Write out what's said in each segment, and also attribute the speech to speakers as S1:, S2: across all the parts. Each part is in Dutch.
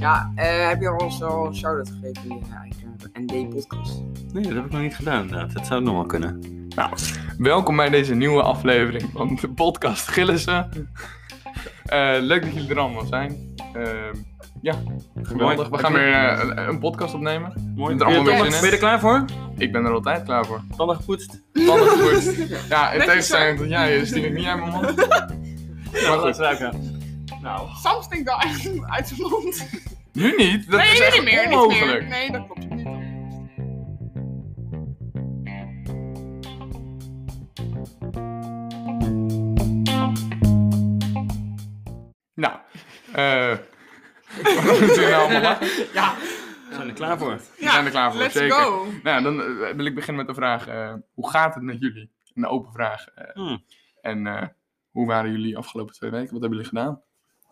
S1: Ja, eh, heb je ons al een shout-out gegeven in je ND podcast?
S2: Nee, dat heb ik nog niet gedaan inderdaad. Dat zou nog wel kunnen.
S3: Welkom bij deze nieuwe aflevering van de podcast Gillissen. Eh, leuk dat jullie er allemaal zijn. Eh, geweldig. We gaan weer eh, een- een podcast opnemen.
S2: Mooi.
S3: er allemaal
S2: Ben je-
S3: weer zin in?
S2: Ben je er klaar voor?
S3: Ik ben er altijd klaar voor.
S2: Tanden gepoetst?
S3: Tanden gepoetst. Ja, in
S1: Netjes,
S3: tegenstelling tot jij eh, stink ik niet uit mijn mond. Maar goed,
S2: ruiken. Nou.
S1: Soms stinkt dat uit, uit zijn mond.
S3: nu niet. Dat
S1: nee,
S3: is
S1: nu
S3: echt
S1: niet meer, niet
S3: onmogelijk.
S1: meer. Nee, dat klopt niet.
S3: Nou, eh wat moeten we nou allemaal lachen?
S1: Ja,
S2: We zijn er klaar voor.
S3: We zijn er klaar voor,
S1: let's
S3: zeker.
S1: go.
S3: Nou, dan eh, wil ik beginnen met de vraag: eh, hoe gaat het met jullie? Een open vraag. eh,
S2: Hmm.
S3: En eh, hoe waren jullie afgelopen twee weken? Wat hebben jullie gedaan?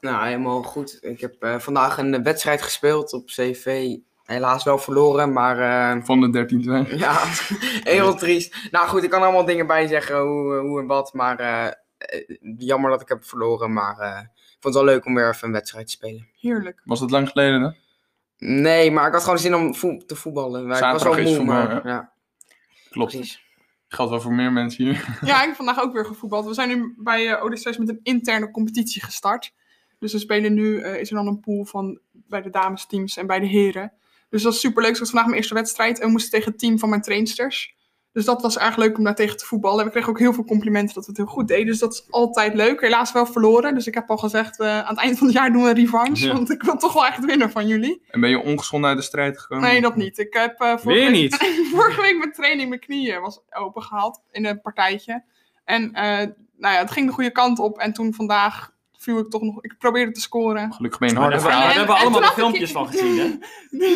S1: Nou, helemaal goed. Ik heb eh, vandaag een eh, wedstrijd gespeeld op CV. Helaas wel verloren, maar eh,
S3: Van de 13 zijn.
S1: ja, heel triest. Nou goed, ik kan allemaal dingen bij zeggen, hoe, eh, hoe en wat. Maar eh, eh, jammer dat ik heb verloren, maar eh, ik vond het wel leuk om weer even een wedstrijd te spelen. Heerlijk.
S3: Was dat lang geleden? Hè?
S1: Nee, maar ik had gewoon zin om voe- te voetballen. Maar ik was
S3: Zaterdag
S1: wel
S3: is
S1: moe,
S3: voetbal,
S1: maar ja,
S3: Klopt.
S1: precies.
S3: Geldt wel voor meer mensen hier.
S4: Ja, ik heb vandaag ook weer gevoetbald. We zijn nu bij eh Odysseus met een interne competitie gestart. Dus we spelen nu, eh, is er dan een pool van bij de damesteams en bij de heren. Dus dat is superleuk. Ik was vandaag mijn eerste wedstrijd en we moesten tegen het team van mijn trainsters. Dus dat was erg leuk om daar tegen te voetballen. En we kregen ook heel veel complimenten dat we het heel goed deden. Dus dat is altijd leuk. Helaas wel verloren. Dus ik heb al gezegd, eh, aan het eind van het jaar doen we een revanche.
S2: Ja.
S4: Want ik wil toch wel echt winnen van jullie.
S3: En ben je ongeschonden uit de strijd gekomen?
S4: Nee, dat niet. Ik heb eh, vorige
S2: Weer
S4: week-
S2: niet.
S4: vorige week mijn training, mijn knieën was opengehaald in een partijtje. En eh, nou ja, het ging de goede kant op. En toen vandaag viel ik toch nog. Ik probeerde te scoren.
S3: Gelukkig ben je een
S2: Maar
S3: harde
S2: daar hebben Nou, we-
S3: vrouw.
S2: daar
S4: En-
S2: hebben we
S4: en
S2: allemaal de
S4: toen had ik-
S2: filmpjes van gezien, hè?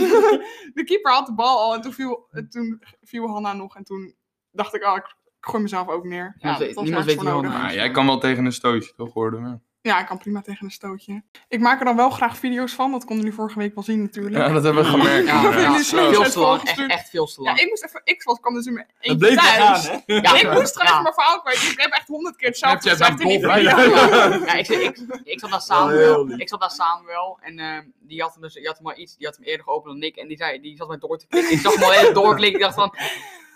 S4: de keeper had de bal al en toen viel, en toen viel Hanna nog. En toen dacht ik, oh, ik gooi mezelf ook neer. Ja,
S1: Niemand weet-
S4: dat was
S1: niemand
S4: nergens
S1: weet
S4: voor
S1: wie
S4: nodig.
S1: Hanna
S3: Maar Ah, jij kan wel tegen een stootje toch worden. hè?
S4: Ja, ik kan prima tegen een stootje. Ik maak er dan wel graag video's van. Dat konden jullie vorige week wel zien natuurlijk.
S3: Ja, dat hebben we gemerkt.
S1: Ja,
S3: inderdaad.
S4: jullie sloten
S1: veel
S4: het
S1: te lang. Echt,
S4: volgens
S1: echt veel
S4: Ja,
S1: te lang.
S4: ik moest even, ik was, kwam dus in mijn
S2: Dat
S4: eentje
S2: bleef maar
S4: thuis.
S2: gaan, hè?
S1: Ja,
S4: ik moest gewoon
S1: ja.
S4: even mijn verhaal kwijt. Ik heb echt honderd keer hetzelfde
S3: Snapchat
S4: gezegd in die
S3: naar
S4: video.
S1: Ja, ik, zit- ik, ik zat
S2: Heel
S1: daar Samuel.
S2: lief.
S1: Ik zat daar Samuel en ehm, die had hem dus, die had hem maar iets, die had hem eerder geopend dan ik en die zei, die zat mij door te klikken. Ik zag hem al heel doorklikken. Ik dacht van,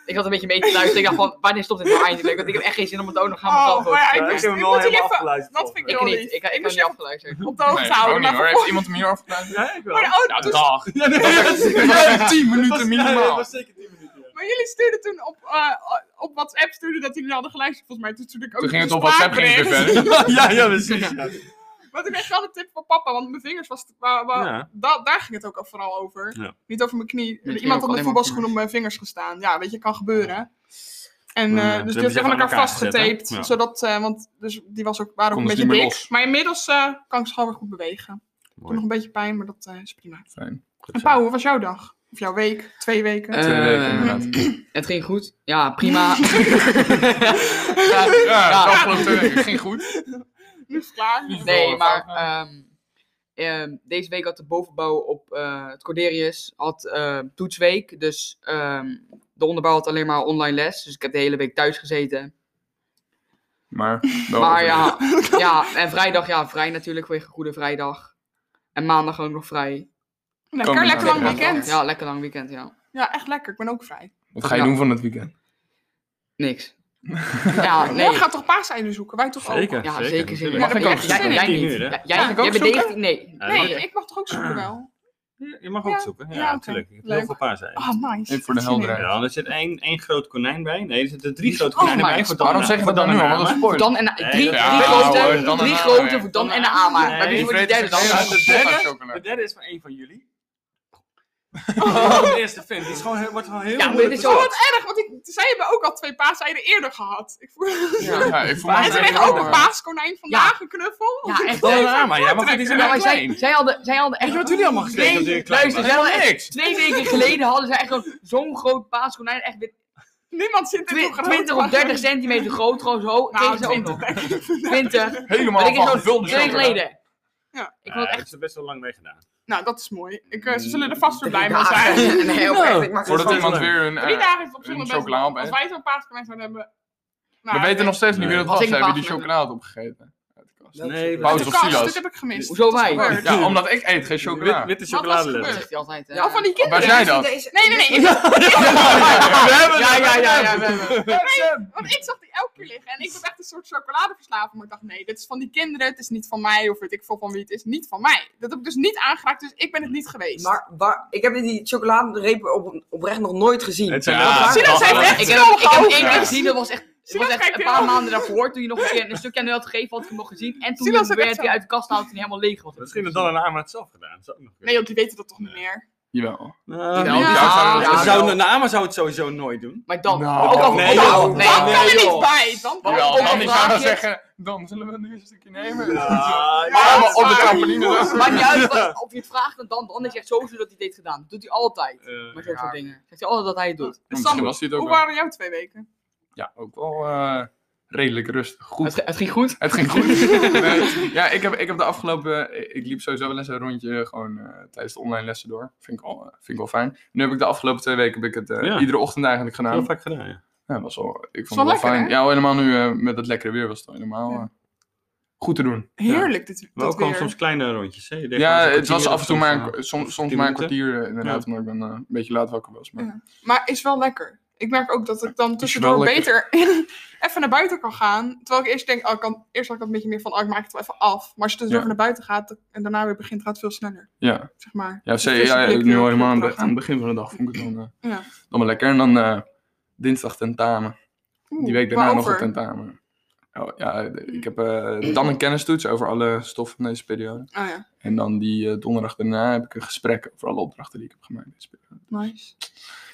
S1: ik zat een beetje mee te luisteren. Ik dacht van, wanneer stopt dit nou eindelijk? Want ik heb echt geen zin om het ook nog aan mezelf
S4: Oh,
S1: door te
S4: maar ja,
S1: klikken.
S4: ik
S2: Ja,
S4: moest,
S2: heb
S4: ik
S2: hem wel
S4: moest die
S2: helemaal
S4: even
S2: afgeluisterd.
S4: dat vind ik
S1: Ik
S4: wel
S1: niet,
S4: lief.
S1: ik, ik, heb
S4: moest
S1: niet
S4: je
S1: afgeluisterd.
S4: even op de hoogte
S3: Nee,
S4: houden.
S3: ook niet
S4: maar
S3: hoor. Heeft
S4: vervolgens-
S3: iemand hem hier afgeluisterd?
S2: Ja, ik wel.
S4: Maar, oh,
S3: Ja,
S4: toen-
S3: dag.
S2: Ja, nee,
S3: Ja, 10 minuten
S2: Ja,
S3: minimaal.
S2: was zeker 10 minuten. ja.
S4: maar jullie stuurden toen op, eh, op WhatsApp stuurden dat jullie hadden geluisterd. Volgens mij toen stuurde ik ook dus
S3: Toen ging het
S4: een
S3: op WhatsApp ging het dus, eh, weer
S4: spraakbericht.
S3: verder.
S2: Ja, ja, precies. Ja.
S4: Want ik kreeg wel een tip van papa, want mijn vingers was... wa- wa-
S2: Ja.
S4: da- daar ging het ook al vooral over.
S2: Ja.
S4: Niet over mijn knie.
S3: knie ook
S4: Iemand had
S3: alleen
S4: met
S3: maar
S4: voetbalschoen
S3: vingers.
S4: op mijn vingers gestaan. Ja, weet je, kan gebeuren. En
S2: Ja, dat
S4: eh, dus
S2: hebben
S4: die had
S2: ze
S4: ik aan
S2: aan
S4: elkaar
S2: elkaar gezet,
S4: vastgetaped.
S2: hè? Ja.
S4: Zodat, eh, want dus die was ook, waren ook een
S3: Konden ze niet
S4: beetje
S3: meer
S4: dik.
S3: los.
S4: Maar inmiddels eh, kan ik ze gewoon weer goed bewegen. Ik heb nog een beetje pijn, maar dat eh, is prima.
S3: Fijn.
S4: En Pauw, hoe was jouw dag? Of jouw week? Twee weken?
S1: Eh,
S3: Twee weken
S1: Eh,
S3: inderdaad.
S1: Het ging goed. Ja, prima. ja,
S3: Ja,
S1: ja.
S3: de afgelopen twee weken ging goed.
S4: nu is het klaar.
S3: Nu is het
S1: Nee,
S3: Wel,
S1: maar
S3: fout,
S1: ehm, ehm, deze week had de bovenbouw op eh, het Corderius had ehm, toetsweek. Dus ehm, de onderbouw had alleen maar online les. Dus ik heb de hele week thuis gezeten.
S3: Maar, wel
S1: maar
S3: overleefd.
S1: ja, ja, en vrijdag, ja, vrij natuurlijk vanwege Goede Vrijdag. En maandag ook nog vrij.
S4: Lekker,
S3: Komende
S4: lekker lang
S3: weekend.
S4: weekend. Ja.
S1: Ja, lekker lang weekend, ja.
S4: echt lekker. Ik ben ook vrij.
S3: Wat ga je
S1: Ja.
S3: doen van het weekend?
S1: Niks. ja, Ah, nee.
S4: Morgen gaat toch paaseieren zoeken? Wij toch ook?
S2: Zeker,
S1: Ja,
S2: zeker.
S1: zeker, zeker.
S3: Mag ik ook
S1: Jij-
S3: zoeken?
S1: Jij
S2: Tien
S1: niet.
S2: uur, hè?
S1: Ja, Jij,
S4: Mag
S1: jij
S4: ik ook
S1: bent
S4: zoeken?
S1: 19, nee.
S4: Nee,
S2: Ja,
S4: ik mag toch ook zoeken wel?
S2: Je mag
S4: Ja,
S2: ook zoeken. Ja,
S4: ja, oké.
S2: natuurlijk. Je hebt
S4: Leuk.
S2: heel veel paarden.
S4: Ah, nice.
S3: Even voor de helderheid.
S2: Ja, er zit één, één groot konijn bij. Nee, er zitten drie grote
S1: Oh
S2: konijnen
S1: my
S2: bij.
S1: god.
S2: voor nou? Dan
S3: Waarom
S2: en-
S3: zeg je
S2: voor
S3: dat dan nu al?
S2: en
S3: Wat een
S2: Ama.
S3: spoiler.
S1: Dan en drie, drie
S3: Ja,
S1: grote,
S3: hoor, dan
S1: drie
S3: en
S1: grote
S3: Ama.
S1: voor Dan en de Ama.
S2: Nee,
S1: maar wie
S2: die
S1: wordt die derde dan?
S2: vreten
S3: Ja,
S2: zichzelf.
S3: de derde chocolade.
S2: De derde is van één van jullie. De eerste vind. Die is gewoon, heel- wordt gewoon heel
S1: Ja, maar dit
S2: moeilijk
S1: is
S2: te
S1: wel-
S4: Oh, wat erg, want ik, zij hebben ook al twee paaseieren eerder gehad. Ik
S1: Ah,
S4: voel...
S1: Ja.
S3: Ja, ik voel
S2: Maar
S3: me eh,
S4: En ze
S2: het
S4: kregen
S2: is
S4: ook
S2: wel
S4: een
S2: waar.
S4: paaskonijn vandaag, een knuffel.
S1: Oh, Ja, echt.
S2: Dan en Ama, ja, maar goed, die zijn
S1: Ja,
S2: wel
S1: maar zij,
S2: klein.
S1: zij hadden, zij hadden echt...
S2: je wat jullie allemaal gekregen
S1: Nee,
S2: toen jullie klein
S1: luister,
S2: waren?
S1: zij hadden echt-
S3: Niks.
S1: Twee weken geleden hadden zij echt een- zo'n groot paaskonijn. Echt weer
S4: Niemand zit in
S1: twi-
S4: zo'n grote
S1: 20 of
S4: waggon.
S1: 30 centimeter groot. Gewoon zo.
S4: Nou,
S1: Kregen ze ook nog.
S4: 20.
S1: 20. Maar
S3: Helemaal
S1: ik
S3: van
S1: is zo'n
S3: gevulde
S1: twee
S3: chocolade.
S1: geleden.
S4: Ja.
S1: Ik vond het echt...
S2: er best wel lang mee gedaan.
S4: Nou, dat is mooi. Ik, eh, ze zullen er vast weer blij mee
S1: Ja,
S4: zijn.
S1: Nee, oprecht. Ik maak
S3: Voordat
S1: het
S3: iemand weer een...
S4: Drie
S3: eh,
S4: dagen is het op
S3: een
S4: zonder best.
S3: chocola op, hè?
S4: Als wij zo'n paaskonijn zouden hebben... Nou,
S3: we weten nog steeds niet wie dat
S1: Als
S3: was.
S1: ik
S3: Hebben
S1: baas
S3: die
S1: ben.
S3: chocolade opgegeten? Uit de kast.
S2: Nee,
S4: podcast.
S3: Wou-
S2: wij-
S3: Pauze of
S4: Kast,
S3: silo's?
S4: dit heb ik gemist.
S1: Hoezo wij?
S4: Dat is gebeurd.
S3: Ja, omdat ik eet geen
S2: Wit-
S3: chocola.
S2: witte
S4: Wat was er
S2: chocoladeletters.
S4: gebeurd?
S1: Die altijd. eh,
S4: Ja, van die
S3: Waar
S4: kinderen.
S3: zijn dat?
S4: Nee, nee, nee. ik-
S3: We hebben
S1: Ja, ja, ja, ja, we hebben
S3: ja.
S4: Want ik zag die elke keer liggen en ik was echt een soort chocoladeverslaafd. Maar ik dacht, nee, dit is van die kinderen, het is niet van mij, of weet ik veel van wie, het is niet van mij. Dat heb ik dus niet aangeraakt, dus ik ben het niet geweest.
S5: Maar waar, ik heb die chocoladerepen op, oprecht nog nooit gezien.
S2: Het zijn
S3: Ja,
S2: wel-
S4: Silas heeft
S3: ja.
S4: echt
S1: Ik heb,
S4: snel
S1: ik heb
S4: gehouden.
S1: één keer
S3: Ja.
S1: gezien, dat was echt, het was
S4: Silas
S1: echt
S4: kijkt
S1: een paar
S4: heel-
S1: maanden daarvoor. Toen je nog een keer een stukje aan de had gegeven, had ik hem nog gezien. En toen
S4: Silas
S1: werd
S4: zit echt
S1: hij
S4: zo.
S1: uit de kast gehaald toen hij helemaal leeg was.
S2: Misschien dat dan en Ama het zelf gedaan. Zou ook nog
S4: Nee, want die weten dat toch niet meer.
S3: Jawel.
S2: kunnen.
S1: Ja,
S4: Ja,
S1: ja,
S2: Ja,
S1: ja,
S2: zou,
S1: wel.
S2: nou, Ama zou het sowieso nooit doen.
S1: Maar dan,
S3: Nou,
S1: ook al
S2: nee,
S1: ook al-
S2: joh.
S1: nee,
S4: dan kan
S1: nee,
S4: er
S1: joh.
S4: niet bij. Dan kan
S1: Jawel,
S4: er niet
S1: dan
S3: dan
S4: bij.
S1: is
S3: ik
S1: vraagje.
S3: zou zeggen, dan zullen we nu eens een stukje nemen.
S2: Ja,
S4: Ja,
S3: Allemaal
S4: dat is
S3: op de
S4: waar.
S3: trampoline. dan.
S1: Maakt niet uit wat- of je het vraagt en dan, dan is hij echt zo zo dat hij dit gedaan. Dat doet hij altijd.
S2: Eh,
S1: Met dat
S3: ja.
S1: soort dingen. Zegt hij altijd dat hij het doet.
S3: Misschien
S4: Sam,
S3: was hij het ook
S4: Hoe
S3: wel.
S4: waren jouw twee weken?
S3: Ja, ook wel eh, redelijk rustig.
S1: Het,
S3: Goed.
S1: ge- het ging goed.
S3: Het ging goed. Nee, ja, ik heb, ik heb de afgelopen. eh, ik- Ik liep sowieso wel eens een rondje gewoon eh, tijdens de online lessen door. Vind ik, al, eh, vind ik wel fijn. Nu heb ik de afgelopen twee weken heb ik het eh,
S2: Ja.
S3: iedere ochtend eigenlijk gedaan.
S2: heel vaak gedaan, ja.
S3: Ja, was wel, ik vond
S4: Is wel
S3: het wel
S4: lekker,
S3: fijn.
S4: hè?
S3: Ja, helemaal nu eh, met het lekkere weer was het wel helemaal
S4: Ja.
S3: eh, goed te doen.
S4: Heerlijk dit,
S2: Maar
S4: dit
S2: ook gewoon
S4: weer.
S2: soms kleine rondjes. Hè? Je deed gewoon
S3: Ja,
S2: zo'n
S3: het was
S2: kwartier
S3: af en toe
S2: of
S3: maar
S2: zo.
S3: een, soms, soms
S2: 10
S3: maar een
S2: minuten?
S3: kwartier eh, inderdaad,
S2: Ja.
S3: omdat ik dan eh, een beetje laat wakker was. Maar...
S4: Ja. Maar is wel lekker. Ik merk ook dat ik dan tussendoor
S3: wel
S4: beter even naar buiten kan gaan. Terwijl ik eerst denk, oh, ik kan, eerst had ik dat een beetje meer van, oh, ik maak het wel even af. Maar als je tussendoor
S3: Ja.
S4: naar buiten gaat en daarna weer begint, gaat het veel sneller.
S3: Ja.
S4: Zeg maar.
S3: Ja,
S4: Dus
S3: zee,
S4: frisse
S3: ja, ja, nu
S4: blik weer op
S3: al
S4: de
S3: helemaal aan, de-
S4: dag
S3: aan het begin van de dag vond ik het dan, eh,
S4: Ja.
S3: dan wel lekker. En dan eh, dinsdag tentamen.
S4: Oeh,
S3: Die week daarna nog een
S4: waarover?
S3: tentamen. Oh, ja, de-
S4: Mm.
S3: ik heb eh, dan een kennistoets over alle stoffen van deze periode.
S4: Oh ja,
S3: En dan die eh, donderdag daarna heb ik een gesprek over alle opdrachten die ik heb gemaakt deze periode.
S4: nice.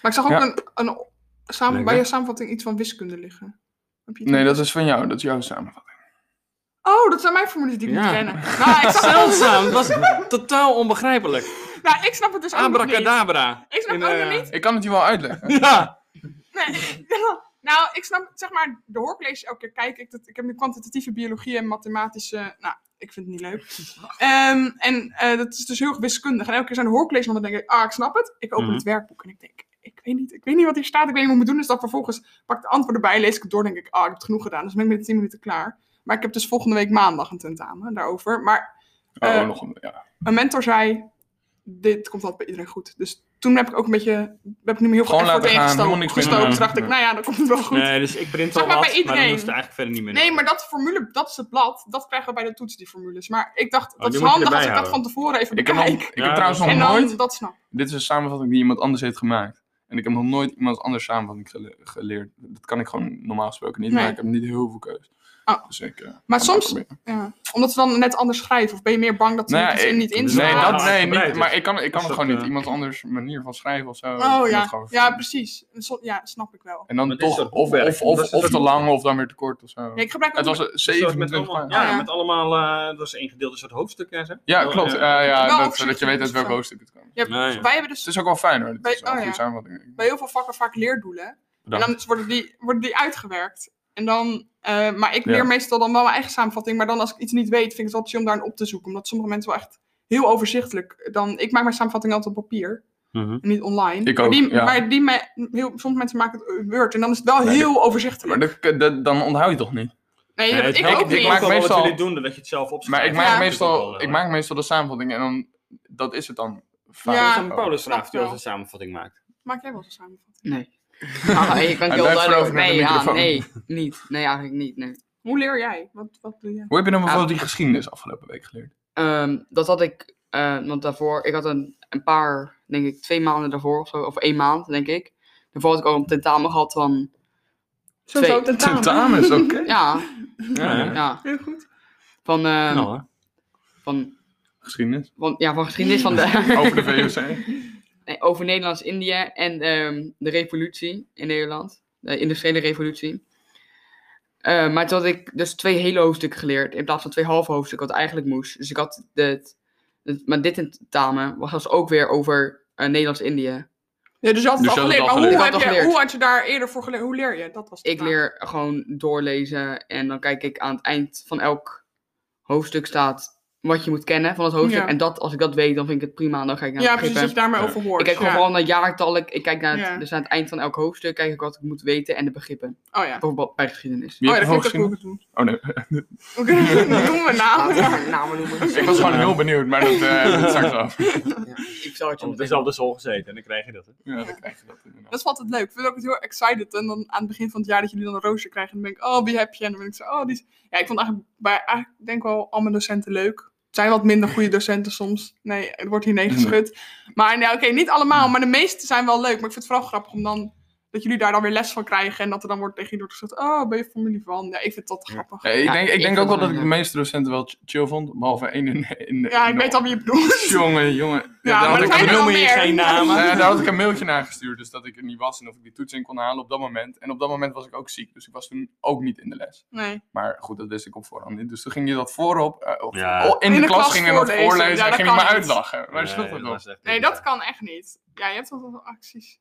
S4: Maar ik zag ook
S3: Ja.
S4: een, een o- samen-
S2: Lekker.
S4: bij je samenvatting iets van wiskunde liggen. Heb je het
S3: Nee,
S4: niet?
S3: dat is van jou. Dat is jouw samenvatting.
S4: Oh, dat zijn mijn formules die ik
S2: Ja.
S4: moet kennen. Nou, ik, zag,
S2: Zeldzaam, het was totaal onbegrijpelijk.
S4: nou, ik snap het dus ook nog niet.
S2: Abracadabra.
S4: Ik snap
S2: In,
S4: ook nog
S2: eh,
S4: niet.
S3: Ik kan het je wel uitleggen.
S2: Ja.
S4: Nee. Nou, ik snap, zeg maar, de hoorcolleges elke keer kijk ik. Dat, ik heb nu kwantitatieve biologie en mathematische. Nou, ik vind het niet leuk. Ehm, en eh, dat is dus heel wiskundig. En elke keer zijn de hoorcolleges, want dan denk ik, ah, ik snap het. Ik open
S2: Mhm.
S4: het werkboek en ik denk, ik weet niet, ik weet niet wat hier staat. Ik weet niet wat ik moet doen. Dus dan vervolgens pak ik de antwoorden bij, lees ik het door, denk ik, ah, ik heb het genoeg gedaan. Dus ben ik binnen 10 minuten klaar. Maar ik heb dus volgende week maandag een tentamen daarover. Maar
S3: Oh,
S4: Eh,
S3: nog een. Ja.
S4: een mentor zei, dit komt altijd bij iedereen goed. Dus toen heb ik ook een beetje, heb ik niet meer heel veel
S3: Gewoon
S4: effort
S3: laten gaan,
S4: ingestoken.
S3: helemaal niks meer
S4: gestoken.
S2: doen.
S4: Toen dacht ik,
S3: Ja.
S4: nou ja, dan komt het wel goed.
S2: Nee, dus ik print
S4: Zeg
S2: al
S4: maar
S2: af, maar
S4: bij
S2: dan
S4: iedereen.
S2: hoeft het eigenlijk verder niet meer
S4: Nee, maar dat formule, dat is het blad. Dat krijgen we bij de toets, die formules. Maar ik
S3: Oh,
S4: dacht, dat
S2: die
S4: is
S2: moet je
S4: handig als
S2: erbij
S4: ik dat van
S2: houden.
S4: tevoren even
S3: Ik heb, nog,
S4: bekijk.
S3: ik
S2: Ja,
S3: heb trouwens
S2: dat-
S3: nog
S4: En dan
S3: nooit.
S4: dat snap.
S3: Dit is een samenvatting die iemand anders heeft gemaakt. En ik heb nog nooit iemand anders samenvatting gele- geleerd. Dat kan ik gewoon normaal gesproken niet,
S4: Nee.
S3: maar ik heb niet heel veel keus.
S4: Oh.
S3: Dus ik, eh, ga
S4: Maar soms,
S3: proberen.
S4: ja, omdat ze dan net anders schrijven. Of ben je meer bang dat ze
S3: Nou ja,
S4: iets in
S3: ik-
S4: niet in
S3: Nee,
S4: staan?
S3: dat,
S2: Ah,
S3: nee
S2: uitgebreid
S3: niet,
S2: is.
S3: maar ik kan, ik kan
S2: Dus
S3: het
S2: dat,
S3: gewoon niet.
S2: eh,
S3: Iemand anders manier van schrijven of zo.
S4: Oh
S3: Ik moet
S4: ja,
S3: gewoon-
S4: ja precies. Zo- Ja, snap ik wel.
S3: En dan
S2: Maar dit is
S3: toch
S2: dat
S3: of,
S2: boekwerk,
S3: of, of,
S2: dat is een
S3: of te
S2: soort-
S3: lang of dan weer te kort of zo.
S4: Ja, ik gebruik ook
S3: het was eh, een
S2: Soort met
S3: 27
S2: allemaal,
S3: pagina's.
S2: ja,
S4: Ja.
S2: met allemaal, eh, dat was één gedeelde soort hoofdstukken en zo.
S3: Ja, klopt.
S2: eh,
S3: ja, ja,
S4: Wel
S3: dat,
S4: overzichtelijk
S3: dat je weet uit
S4: dus
S3: welk
S4: wel.
S3: hoofdstuk het kan.
S4: Je hebt-
S2: Nee.
S4: Wij hebben dus
S3: Het is ook wel fijn hoor. Het
S4: Bij-
S3: is wel
S4: oh
S3: een goede
S4: ja.
S3: samenvatting.
S4: bij heel veel vakken vaak leerdoelen.
S2: Bedankt.
S4: En dan worden die, worden die uitgewerkt. En dan, eh, maar ik
S3: Ja.
S4: leer meestal dan wel mijn eigen samenvatting. Maar dan als ik iets niet weet, vind ik het wel chill om daarin op te zoeken. Omdat sommige mensen wel echt heel overzichtelijk. Dan, ik maak mijn samenvatting altijd op papier.
S2: Mhm.
S4: En niet online.
S3: Ik
S4: maar
S3: ook,
S4: die,
S3: ja.
S4: maar die me- heel, sommige mensen maken het eh, Word. En dan is het wel
S3: Nee,
S4: heel
S3: Maar
S4: overzichtelijk.
S3: dat, dat- dan onthoud je toch niet?
S4: nee,
S2: Nee,
S4: dat-
S2: het
S4: ik
S2: helpt.
S4: ook
S3: ik
S4: niet.
S3: maak
S2: wel
S3: meestal-
S2: wat jullie doen, dat je het zelf opschrijft.
S3: Maar ik maak,
S4: Ja.
S3: meestal, ik maak meestal de samenvatting en dan, dat is het dan. Vaak.
S4: Ja.
S2: Aan Paulus vraagt
S4: Snap
S2: die
S4: wel.
S2: als een samenvatting maakt.
S4: Maak jij wel eens een samenvatting?
S1: Nee. Ah, je kan
S3: Hij
S1: heel
S3: blijft
S1: duidelijk
S3: voorover
S1: over.
S3: met de
S1: Nee, ja,
S3: microfoon.
S1: nee, niet. Nee, eigenlijk niet. Nee.
S4: Hoe leer jij? Wat, wat doe jij?
S3: Hoe heb je dan bijvoorbeeld
S1: Ja.
S3: die geschiedenis afgelopen week geleerd?
S1: Ehm, dat had ik, eh, want daarvoor, ik had een, een paar, denk ik, twee maanden daarvoor of zo, of één maand, denk ik. Daarvoor had ik al een tentamen gehad van,
S4: Zo,
S1: Twee.
S4: zo, tentamen.
S3: Tentamens, oké.
S1: ja,
S3: Ja, ja.
S1: ja,
S4: Heel goed.
S1: van, eh,
S2: Nou, hè.
S1: van,
S3: Geschiedenis.
S1: van, ja, van geschiedenis van de,
S3: Over de
S4: Oh,
S3: VOC.
S1: nee, over Nederlands-Indië en ehm, de revolutie in Nederland, de industriële revolutie. Eh, maar toen had ik dus twee hele hoofdstukken geleerd in plaats van twee halve hoofdstukken, wat eigenlijk moest. Dus ik had dit, dit- maar dit tentamen was dus ook weer over eh, Nederlands-Indië.
S4: Ja, dus je had het
S3: Dus je
S4: al
S3: had het
S4: geleerd.
S3: al
S4: Maar
S3: geleerd.
S4: hoe,
S1: Ik had
S4: heb
S1: het al
S4: je,
S1: geleerd.
S4: hoe had je daar eerder voor geleerd? Hoe leer je? Dat was de
S1: Ik
S4: vraag.
S1: leer gewoon doorlezen en dan kijk ik aan het eind van elk hoofdstuk staat wat je moet kennen van het hoofdstuk.
S4: Ja.
S1: En dat, als ik dat weet, dan vind ik het prima. en Dan ga ik naar
S4: ja,
S1: het
S4: precies,
S1: begin.
S4: dat je daarmee
S3: Ja.
S4: over hoort.
S1: Ik kijk gewoon
S4: ja.
S1: vooral naar jaartallen. Ik kijk naar het,
S4: Ja.
S1: dus aan het eind van elk hoofdstuk kijk ik wat ik moet weten en de begrippen.
S4: Oh ja.
S1: Bijvoorbeeld bij geschiedenis.
S3: Wie
S4: oh ja,
S3: heeft
S4: dat
S3: er
S4: vind ik ook
S3: hooggeschiedenis?
S4: goed doen.
S3: Oh nee,
S4: Oké, noem mijn naam.
S5: Laten we namen noemen.
S3: ik was gewoon heel benieuwd, maar dat eh dat straks af.
S1: Ik zal het
S3: Oh,
S2: Op dezelfde school gezeten en dan krijg je dat. Hè?
S3: Ja, dan krijg je dat inderdaad.
S4: Dat is altijd leuk. Ik vind het ook heel excited. En dan aan het begin van het jaar dat jullie dan een roosje krijgen. En dan denk ik, oh, die heb je? En dan ben ik zo, oh, die is... Ja, ik vond eigenlijk, bij, eigenlijk denk ik wel al mijn docenten leuk. Het zijn wat minder goede docenten soms. Nee, het wordt hier nee geschud. Maar nou, oké, niet allemaal. Maar de meeste zijn wel leuk. Maar ik vind het vooral grappig om dan... Dat jullie daar dan weer les van krijgen. En dat er dan wordt tegen jullie wordt gezegd, oh, ben je familie van? Ja, ik vind dat grappig.
S3: Ja, ik
S1: Ja,
S3: denk, ik
S1: ik
S3: denk
S1: vond
S3: ook wel
S1: het
S3: dat ik de
S1: wel
S3: meeste docenten wel ch- chill vond, behalve één in, in de...
S4: Ja, ik weet al wie je bedoelt.
S3: Jongen, jongen. daar,
S4: Ja, maar
S3: had
S4: er
S3: ik
S4: zijn
S3: een
S4: er
S3: mail,
S4: al
S2: noem je
S4: meer.
S2: geen namen.
S3: eh, daar had ik een mailtje naar gestuurd, dus dat ik er niet was en of ik die toets in kon halen op dat moment. En op dat moment was ik ook ziek, dus ik was toen ook niet in de les.
S4: Nee.
S3: Maar goed, dat wist ik op voorhand niet. Dus toen ging je dat voorop, eh, of-
S2: Ja.
S3: oh, in, de, klas, ging je dat
S4: voorlezen.
S3: voorlezen
S4: Ja,
S3: en
S4: dat
S3: ging je me
S4: kan niet.
S3: uitlachen. Waar sloeg dat
S2: dat
S3: op?
S2: is echt
S4: nee,
S2: bizar.
S4: dat kan echt niet. Ja, je hebt altijd wel acties.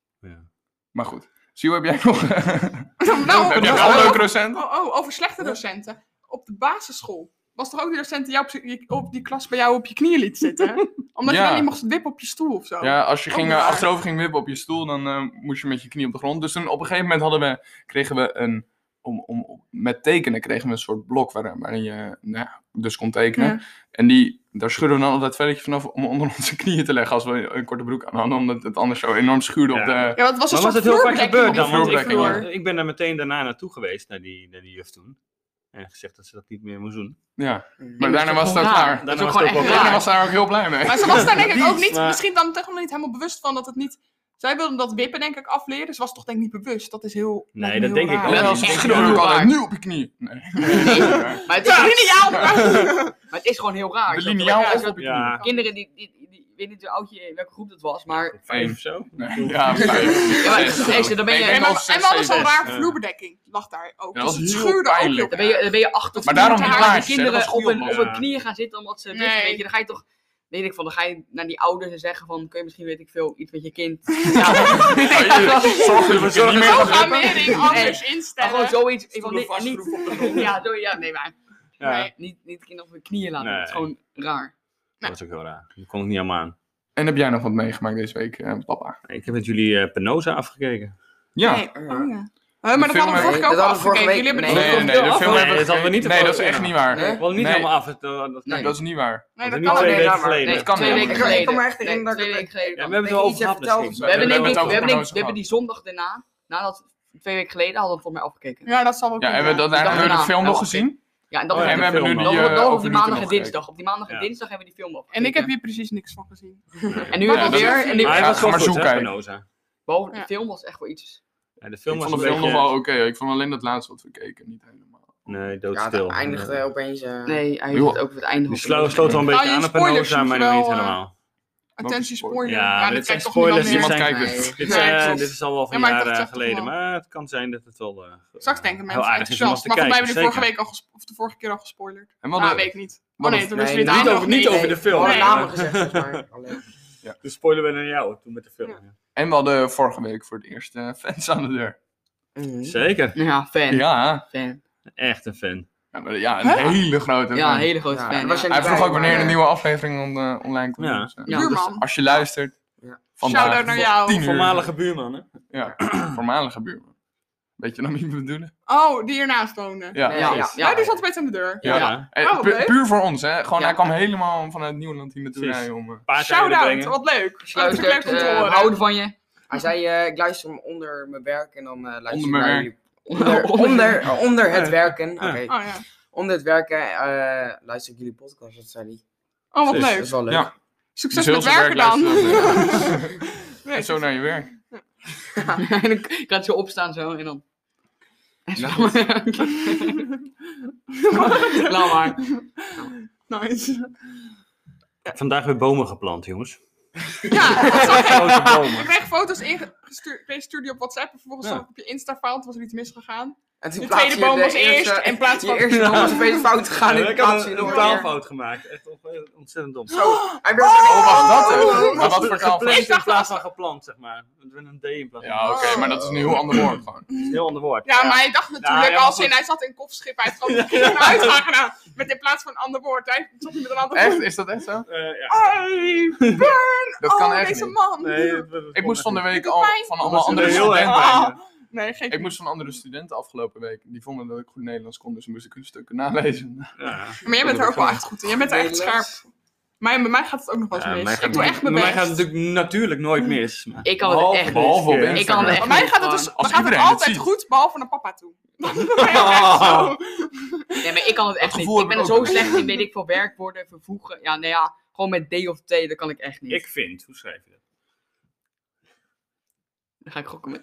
S3: Maar goed. Sio, heb jij nog...
S4: nou,
S3: heb
S4: Oh, dat-
S3: jij al leuke docenten?
S4: Oh, oh, over slechte docenten. Op de basisschool was toch ook die docent die jou op, je- op die klas bij jou op je knieën liet zitten? Omdat
S3: Ja.
S4: je dan niet mocht wippen op je stoel of zo.
S3: Ja, als je
S4: Ook
S3: ging, eh,
S4: waar.
S3: achterover ging wippen op je stoel, dan eh, moest je met je knie op de grond. Dus toen op een gegeven moment hadden we, kregen we een... Om, om, om- met tekenen kregen we een soort blok waar, waarin je nou, ja, dus kon tekenen.
S4: Ja.
S3: En die, daar schudden we dan altijd velletje vanaf om onder onze knieën te leggen als we een korte broek aan hadden. Omdat het anders zo enorm schuurde op
S2: Ja.
S3: de...
S4: Ja, want het was een
S2: Maar was
S4: soort
S2: het heel vaak
S4: vloerbedekking
S2: gebeurd
S4: op die
S2: dan? Want ik,
S3: vloerbedekking,
S4: vloer.
S2: eh, ik ben er meteen daarna naartoe geweest, naar die, naar die juf toen. En gezegd dat ze dat niet meer moest doen.
S3: Ja, maar
S1: dat
S3: daarna was
S1: is
S3: het
S1: toch
S3: ook
S1: gewoon
S3: klaar.
S1: raar?
S2: Daarna was
S1: ook gewoon
S2: het ook
S1: echt
S2: wel
S3: Daarna
S1: raar.
S2: klaar.
S3: was ze daar ook heel blij mee.
S4: Maar ze was daar denk ik ook niet,
S2: Maar-
S4: misschien dan toch nog niet helemaal bewust van dat het niet... Zij wilden dat wippen denk ik afleren, dus was toch denk ik niet bewust. Dat is heel
S2: Nee,
S4: lijkt me
S2: dat
S4: heel
S2: denk ik
S4: raar.
S2: wel.
S3: Net
S2: Ja,
S3: als
S2: dat is
S3: ik
S2: echt
S3: schudden we
S1: heel
S3: ook altijd
S1: raar.
S3: nu op je knie. Nee.
S1: Maar het, is,
S4: Ja,
S1: gewoon-
S4: lineaal!
S1: maar het is gewoon heel raar.
S3: De
S1: Ik zat-
S3: lineaal
S1: ja, ik
S3: of
S1: zat-
S3: op je
S2: Ja.
S3: knie.
S1: Kinderen die, die, die, die- ik weet niet hoe oud je, welke groep dat was, maar...
S2: Vijf of zo?
S3: Nee, Ja, vijf.
S1: Ja, maar
S3: zes.
S1: echt, dan ben je-
S3: Ik
S4: En
S3: denk
S4: we
S3: al
S4: hadden-
S3: zes,
S4: en we hadden zo'n
S3: zeven.
S4: raar
S2: Ja.
S4: vloerbedekking. Lag daar ook.
S3: Ja,
S4: dus
S3: dat
S4: het
S3: was heel
S4: schuurde ook heel
S3: pijnlijk.
S1: Dan ben je, dan ben je achter
S3: Maar daarom
S1: haar
S3: niet
S1: die
S3: laatst, hè, dat
S1: kinderen
S3: was
S1: op hun,
S3: goed.
S1: op hun
S2: Ja.
S1: knieën gaan zitten omdat ze
S4: Nee.
S1: nee. weet je, dan ga je toch weet ik van dan ga je naar die ouders en zeggen van kun je misschien weet ik veel iets met je kind ja,
S3: Zorg dat we zorgen niet meer
S4: Zo
S3: gaan
S4: gaan
S3: wippen.
S4: we
S1: Nee.
S4: erin anders
S1: maar
S4: instellen.
S1: gewoon zoiets ik
S3: Stoelen
S1: wil niet,
S3: vastschroeven op de grond.
S1: niet ja, zo, ja nee maar
S2: Ja,
S4: Nee.
S1: niet, niet kinderen op hun knieën laten
S2: Nee.
S1: dat is gewoon raar
S2: dat was ook heel raar. Daar kon ik niet helemaal aan.
S3: En heb jij nog wat meegemaakt deze week, eh, papa?
S2: Ik heb met jullie eh, Penosa afgekeken.
S3: Ja.
S4: Nee.
S5: Eh,
S4: Oh, ja. Hé, maar dat
S3: film-
S4: hadden we
S5: Nee,
S4: vorige keer ook
S5: dat hadden we vorige
S4: afgekeken.
S5: week-
S4: Jullie hebben
S3: Nee,
S4: het
S5: Nee,
S3: nee, nee,
S4: ook
S3: de
S4: wel
S3: film
S2: Nee,
S4: af.
S3: hebben we
S2: dat hadden we niet
S3: gekeken. Nee,
S2: de
S3: dat is
S2: vorige
S3: echt
S2: keer
S3: niet waar.
S5: Nee?
S2: Ik wil niet
S3: Nee.
S2: helemaal af. Het, eh, dat
S1: Nee.
S3: Dat is niet waar.
S4: Nee,
S2: dat
S4: dat
S2: is niet
S4: kan
S5: nee,
S2: twee weken
S4: niet.
S5: nou, maar-
S2: geleden.
S3: Nee, kan
S1: twee
S3: niet.
S1: weken
S3: Ik- ik
S1: geleden
S5: kan me echt niet
S1: Nee,
S5: in dat
S1: twee
S5: ik-
S1: weken geleden
S2: Ja,
S1: kan.
S2: we hebben
S5: Ik
S2: het wel
S5: weet
S2: over
S5: niet,
S2: gehad.
S5: je vertelt-
S2: misschien.
S1: we hebben,
S3: we
S1: denk
S3: hebben
S1: ik,
S3: het
S1: we
S3: over
S1: hebben, denk,
S3: Penosa
S1: we hebben die zondag daarna nadat twee weken geleden hadden we voor mij afgekeken ja,
S4: Ja, dat zal wel
S3: Ja,
S4: kunnen,
S3: hebben we dat
S1: dag
S3: hebben we de
S1: erna.
S3: film nog
S1: Nou,
S3: gezien?
S1: en dat
S2: Oh,
S1: was
S2: ja,
S3: En we
S1: dan,
S2: de
S3: hebben nu
S2: film
S3: die
S2: nog.
S1: dan,
S3: eh,
S1: dan op
S3: over
S1: die
S3: Newton
S1: maandag en
S3: nog gekeken.
S1: dinsdag op die maandag en
S2: Ja.
S1: dinsdag hebben we die film
S4: En
S1: afgekeken
S4: ik heb hier precies niks van gezien.
S1: en nu
S4: Maar
S1: hebben we
S4: dat was
S1: weer
S4: een
S1: en nu,
S4: film.
S2: Maar hij
S3: Ja,
S2: was
S3: ga
S2: wel
S3: maar
S2: goed, hè,
S3: zoeken.
S2: Penosa.
S1: boven,
S4: Ja.
S1: de film was echt wel iets
S2: Ja, de film
S3: Ik
S2: was
S3: vond
S2: een
S3: de film nog
S2: beetje...
S3: wel oké. Ik vond alleen dat laatste wat we keken niet helemaal.
S2: Nee,
S5: Ja,
S2: doodstil.
S5: dat eindigde opeens... eh,
S1: nee hij
S3: Joh.
S1: heeft ook het einde
S2: Die
S1: op-
S2: sla- sloot wel een beetje
S4: Ah, je
S2: aan op
S4: spoilers
S2: Penosa, maar nog
S4: misschien
S2: niet
S4: wel, eh,
S2: helemaal.
S4: Attentie,
S3: spoiler.
S4: spoiler.
S2: Ja, maar dit
S4: dat
S2: zijn
S4: kijkt toch niemand
S2: spoilers die
S4: meer.
S3: Niemand
S2: zijn-
S3: kijkt
S5: Nee.
S3: dit.
S2: Dit,
S4: Nee,
S2: eh,
S4: klopt.
S2: dit is al wel van
S4: Ja, maar ik
S2: jaren
S4: dacht echt
S2: geleden,
S4: wel.
S2: maar het kan zijn dat het wel... eh,
S4: Straks denken
S2: heel
S4: mensen
S2: aardig is om wat te
S4: enthousiast. Maar volgens mij
S2: kijken,
S4: hebben we vorige
S2: zeker.
S4: week al gespo- of de vorige keer al gespoilerd.
S3: En
S4: Nou,
S3: wat
S4: weet ik niet.
S3: wat
S4: Oh nee,
S3: een-
S4: toen wisten
S5: nee,
S4: we het
S2: niet
S4: einde
S2: over-
S4: nog
S2: niet
S4: niet.
S2: over de film.
S5: Alle
S4: Nee.
S5: namen gezegd, volgens mij. Alleen.
S2: Dus spoilen we naar jou toen met de film.
S4: Ja.
S3: En we hadden vorige week voor het eerst eh, fans aan de deur.
S5: Mhm.
S2: Zeker.
S1: ja fan
S3: Ja,
S1: fan
S2: Echt een fan.
S3: ja, maar ja een hele grote
S1: ja een
S3: fan.
S1: hele grote
S5: Ja,
S1: fan
S5: dat
S1: ja.
S5: was je-
S3: Hij vroeg ook wanneer de
S5: Maar-
S3: nieuwe aflevering on- eh, online komt.
S2: Ja.
S3: Dus, eh,
S1: Ja.
S4: Buurman.
S3: Als je luistert.
S5: Ja.
S3: vandaag
S4: Shout-out naar
S3: tot
S4: jou.
S3: 10 uur.
S2: Voormalige buurman, hè?
S3: Ja, voormalige buurman. Weet je dan wie we bedoelen?
S4: Oh, die ernaast woonde.
S3: Ja.
S5: Nee,
S1: Ja,
S5: ja.
S4: Ja,
S1: ja.
S4: die zat bij aan de deur.
S3: Ja. Eh,
S4: Oh, wat
S3: pu-
S4: leuk.
S3: puur voor ons, hè? Gewoon,
S1: Ja.
S3: hij kwam helemaal vanuit Nieuwland hier naartoe
S2: Precies.
S3: rijden om... eh,
S2: Paard
S4: Shout-out,
S2: brengen.
S4: wat leuk.
S1: Sluit
S4: Dat is leuk om te
S1: eh, we
S4: horen.
S1: houden van je.
S5: Hij zei, eh, ik luister hem onder mijn werk en dan eh, luister
S3: Onder
S5: ik
S3: mijn
S5: naar
S3: werk.
S5: jullie. Onder, onder, eh, onder het werken, oké.
S4: Oh ja.
S5: Onder het werken eh, luister ik jullie podcast, dat zei hij.
S4: Oh, wat
S2: Dus,
S5: Dat
S4: leuk.
S5: is eh, wel leuk.
S3: Ja.
S4: Succes
S3: dus
S4: met
S3: heel
S4: werken
S3: zijn werk
S4: dan.
S3: luisteren.
S4: Nee,
S3: En zo naar je werk.
S1: en dan k- gaat ze opstaan zo en dan.
S3: Ja.
S1: Laat maar.
S4: Nice.
S2: Vandaag weer bomen geplant, jongens.
S4: Ja, dat zag ik.
S2: Grote
S4: Ik
S2: bomen.
S4: kreeg foto's ingestuurd, kreeg stuurde die op WhatsApp en vervolgens
S2: Ja.
S4: zag ik op je Insta-file, toen was er iets misgegaan.
S5: En toen
S4: De
S5: plaats
S4: tweede
S5: je
S4: boom was eerst
S5: eerste-
S4: en plaats
S5: Je
S4: van-
S5: eerste boom was een beetje fout gegaan
S2: Ja,
S5: in
S2: ik
S5: plaats
S2: had
S5: van
S2: een,
S5: je
S2: een taalfout gemaakt. Echt on- ontzettend dom.
S5: Hij werd oh,
S3: Oh, was dat het? Maar
S2: oh.
S3: wat voor taalfout?
S2: Gepland in plaats van gepland, zeg maar. We een D in plaats van.
S3: Ja, oké, maar dat is een heel ander woord gewoon.
S2: Dat is een heel ander woord.
S4: Ja, maar hij dacht natuurlijk
S2: Nou, ja, maar
S4: als
S2: goed.
S4: in, hij zat in kofschip, hij had gewoon een uitgaan gedaan. Met in plaats van een ander woord, hij zat niet met een ander
S3: Echt?
S4: woord.
S3: Is dat echt zo?
S2: Eh, ja.
S4: Hey, burn!
S3: Dat kan
S4: oh,
S3: echt
S4: deze
S3: niet.
S4: man!
S2: Nee,
S4: Nee,
S2: we- we-
S3: Ik moest van de week
S4: Doet
S3: al
S4: pijn.
S3: van allemaal
S2: Dat was
S3: andere
S2: heel erg
S3: studenten.
S2: pijn.
S4: nee geen
S3: Ik moest van andere studenten afgelopen week. Die vonden dat ik goed Nederlands kon, dus moest ik hun stukken nalezen.
S2: Ja.
S4: Maar jij bent er ook wel echt goed in. Jij bent er echt scherp. Mijn, bij mij gaat het ook nog wel eens
S2: Ja, mij
S4: mis.
S2: gaat-
S4: Ik doe echt mijn
S2: bij
S4: best.
S2: mij gaat het natuurlijk, natuurlijk nooit mis. maar-
S1: Ik kan het
S2: Behalve-
S1: echt
S3: Behalve op
S2: Ik
S1: Ik
S3: Instagram.
S1: kan het echt
S4: Bij mij
S1: niet,
S4: gaat het
S1: gewoon.
S4: dus
S3: Als
S4: gaat het
S3: iedereen het
S4: altijd
S3: ziet.
S4: goed, behalve naar papa toe. Dat is bij jou echt zo.
S1: Nee, maar ik kan het echt niet.
S3: gevoel
S1: Ik ben
S3: heb
S1: er
S3: ik
S1: zo
S3: ook.
S1: slecht in, weet ik veel, werkwoorden, vervoegen. Ja, nou ja, gewoon met D of T, dat kan ik echt niet.
S2: Ik vind, hoe schrijf je dat?
S1: Daar ga ik gokken met.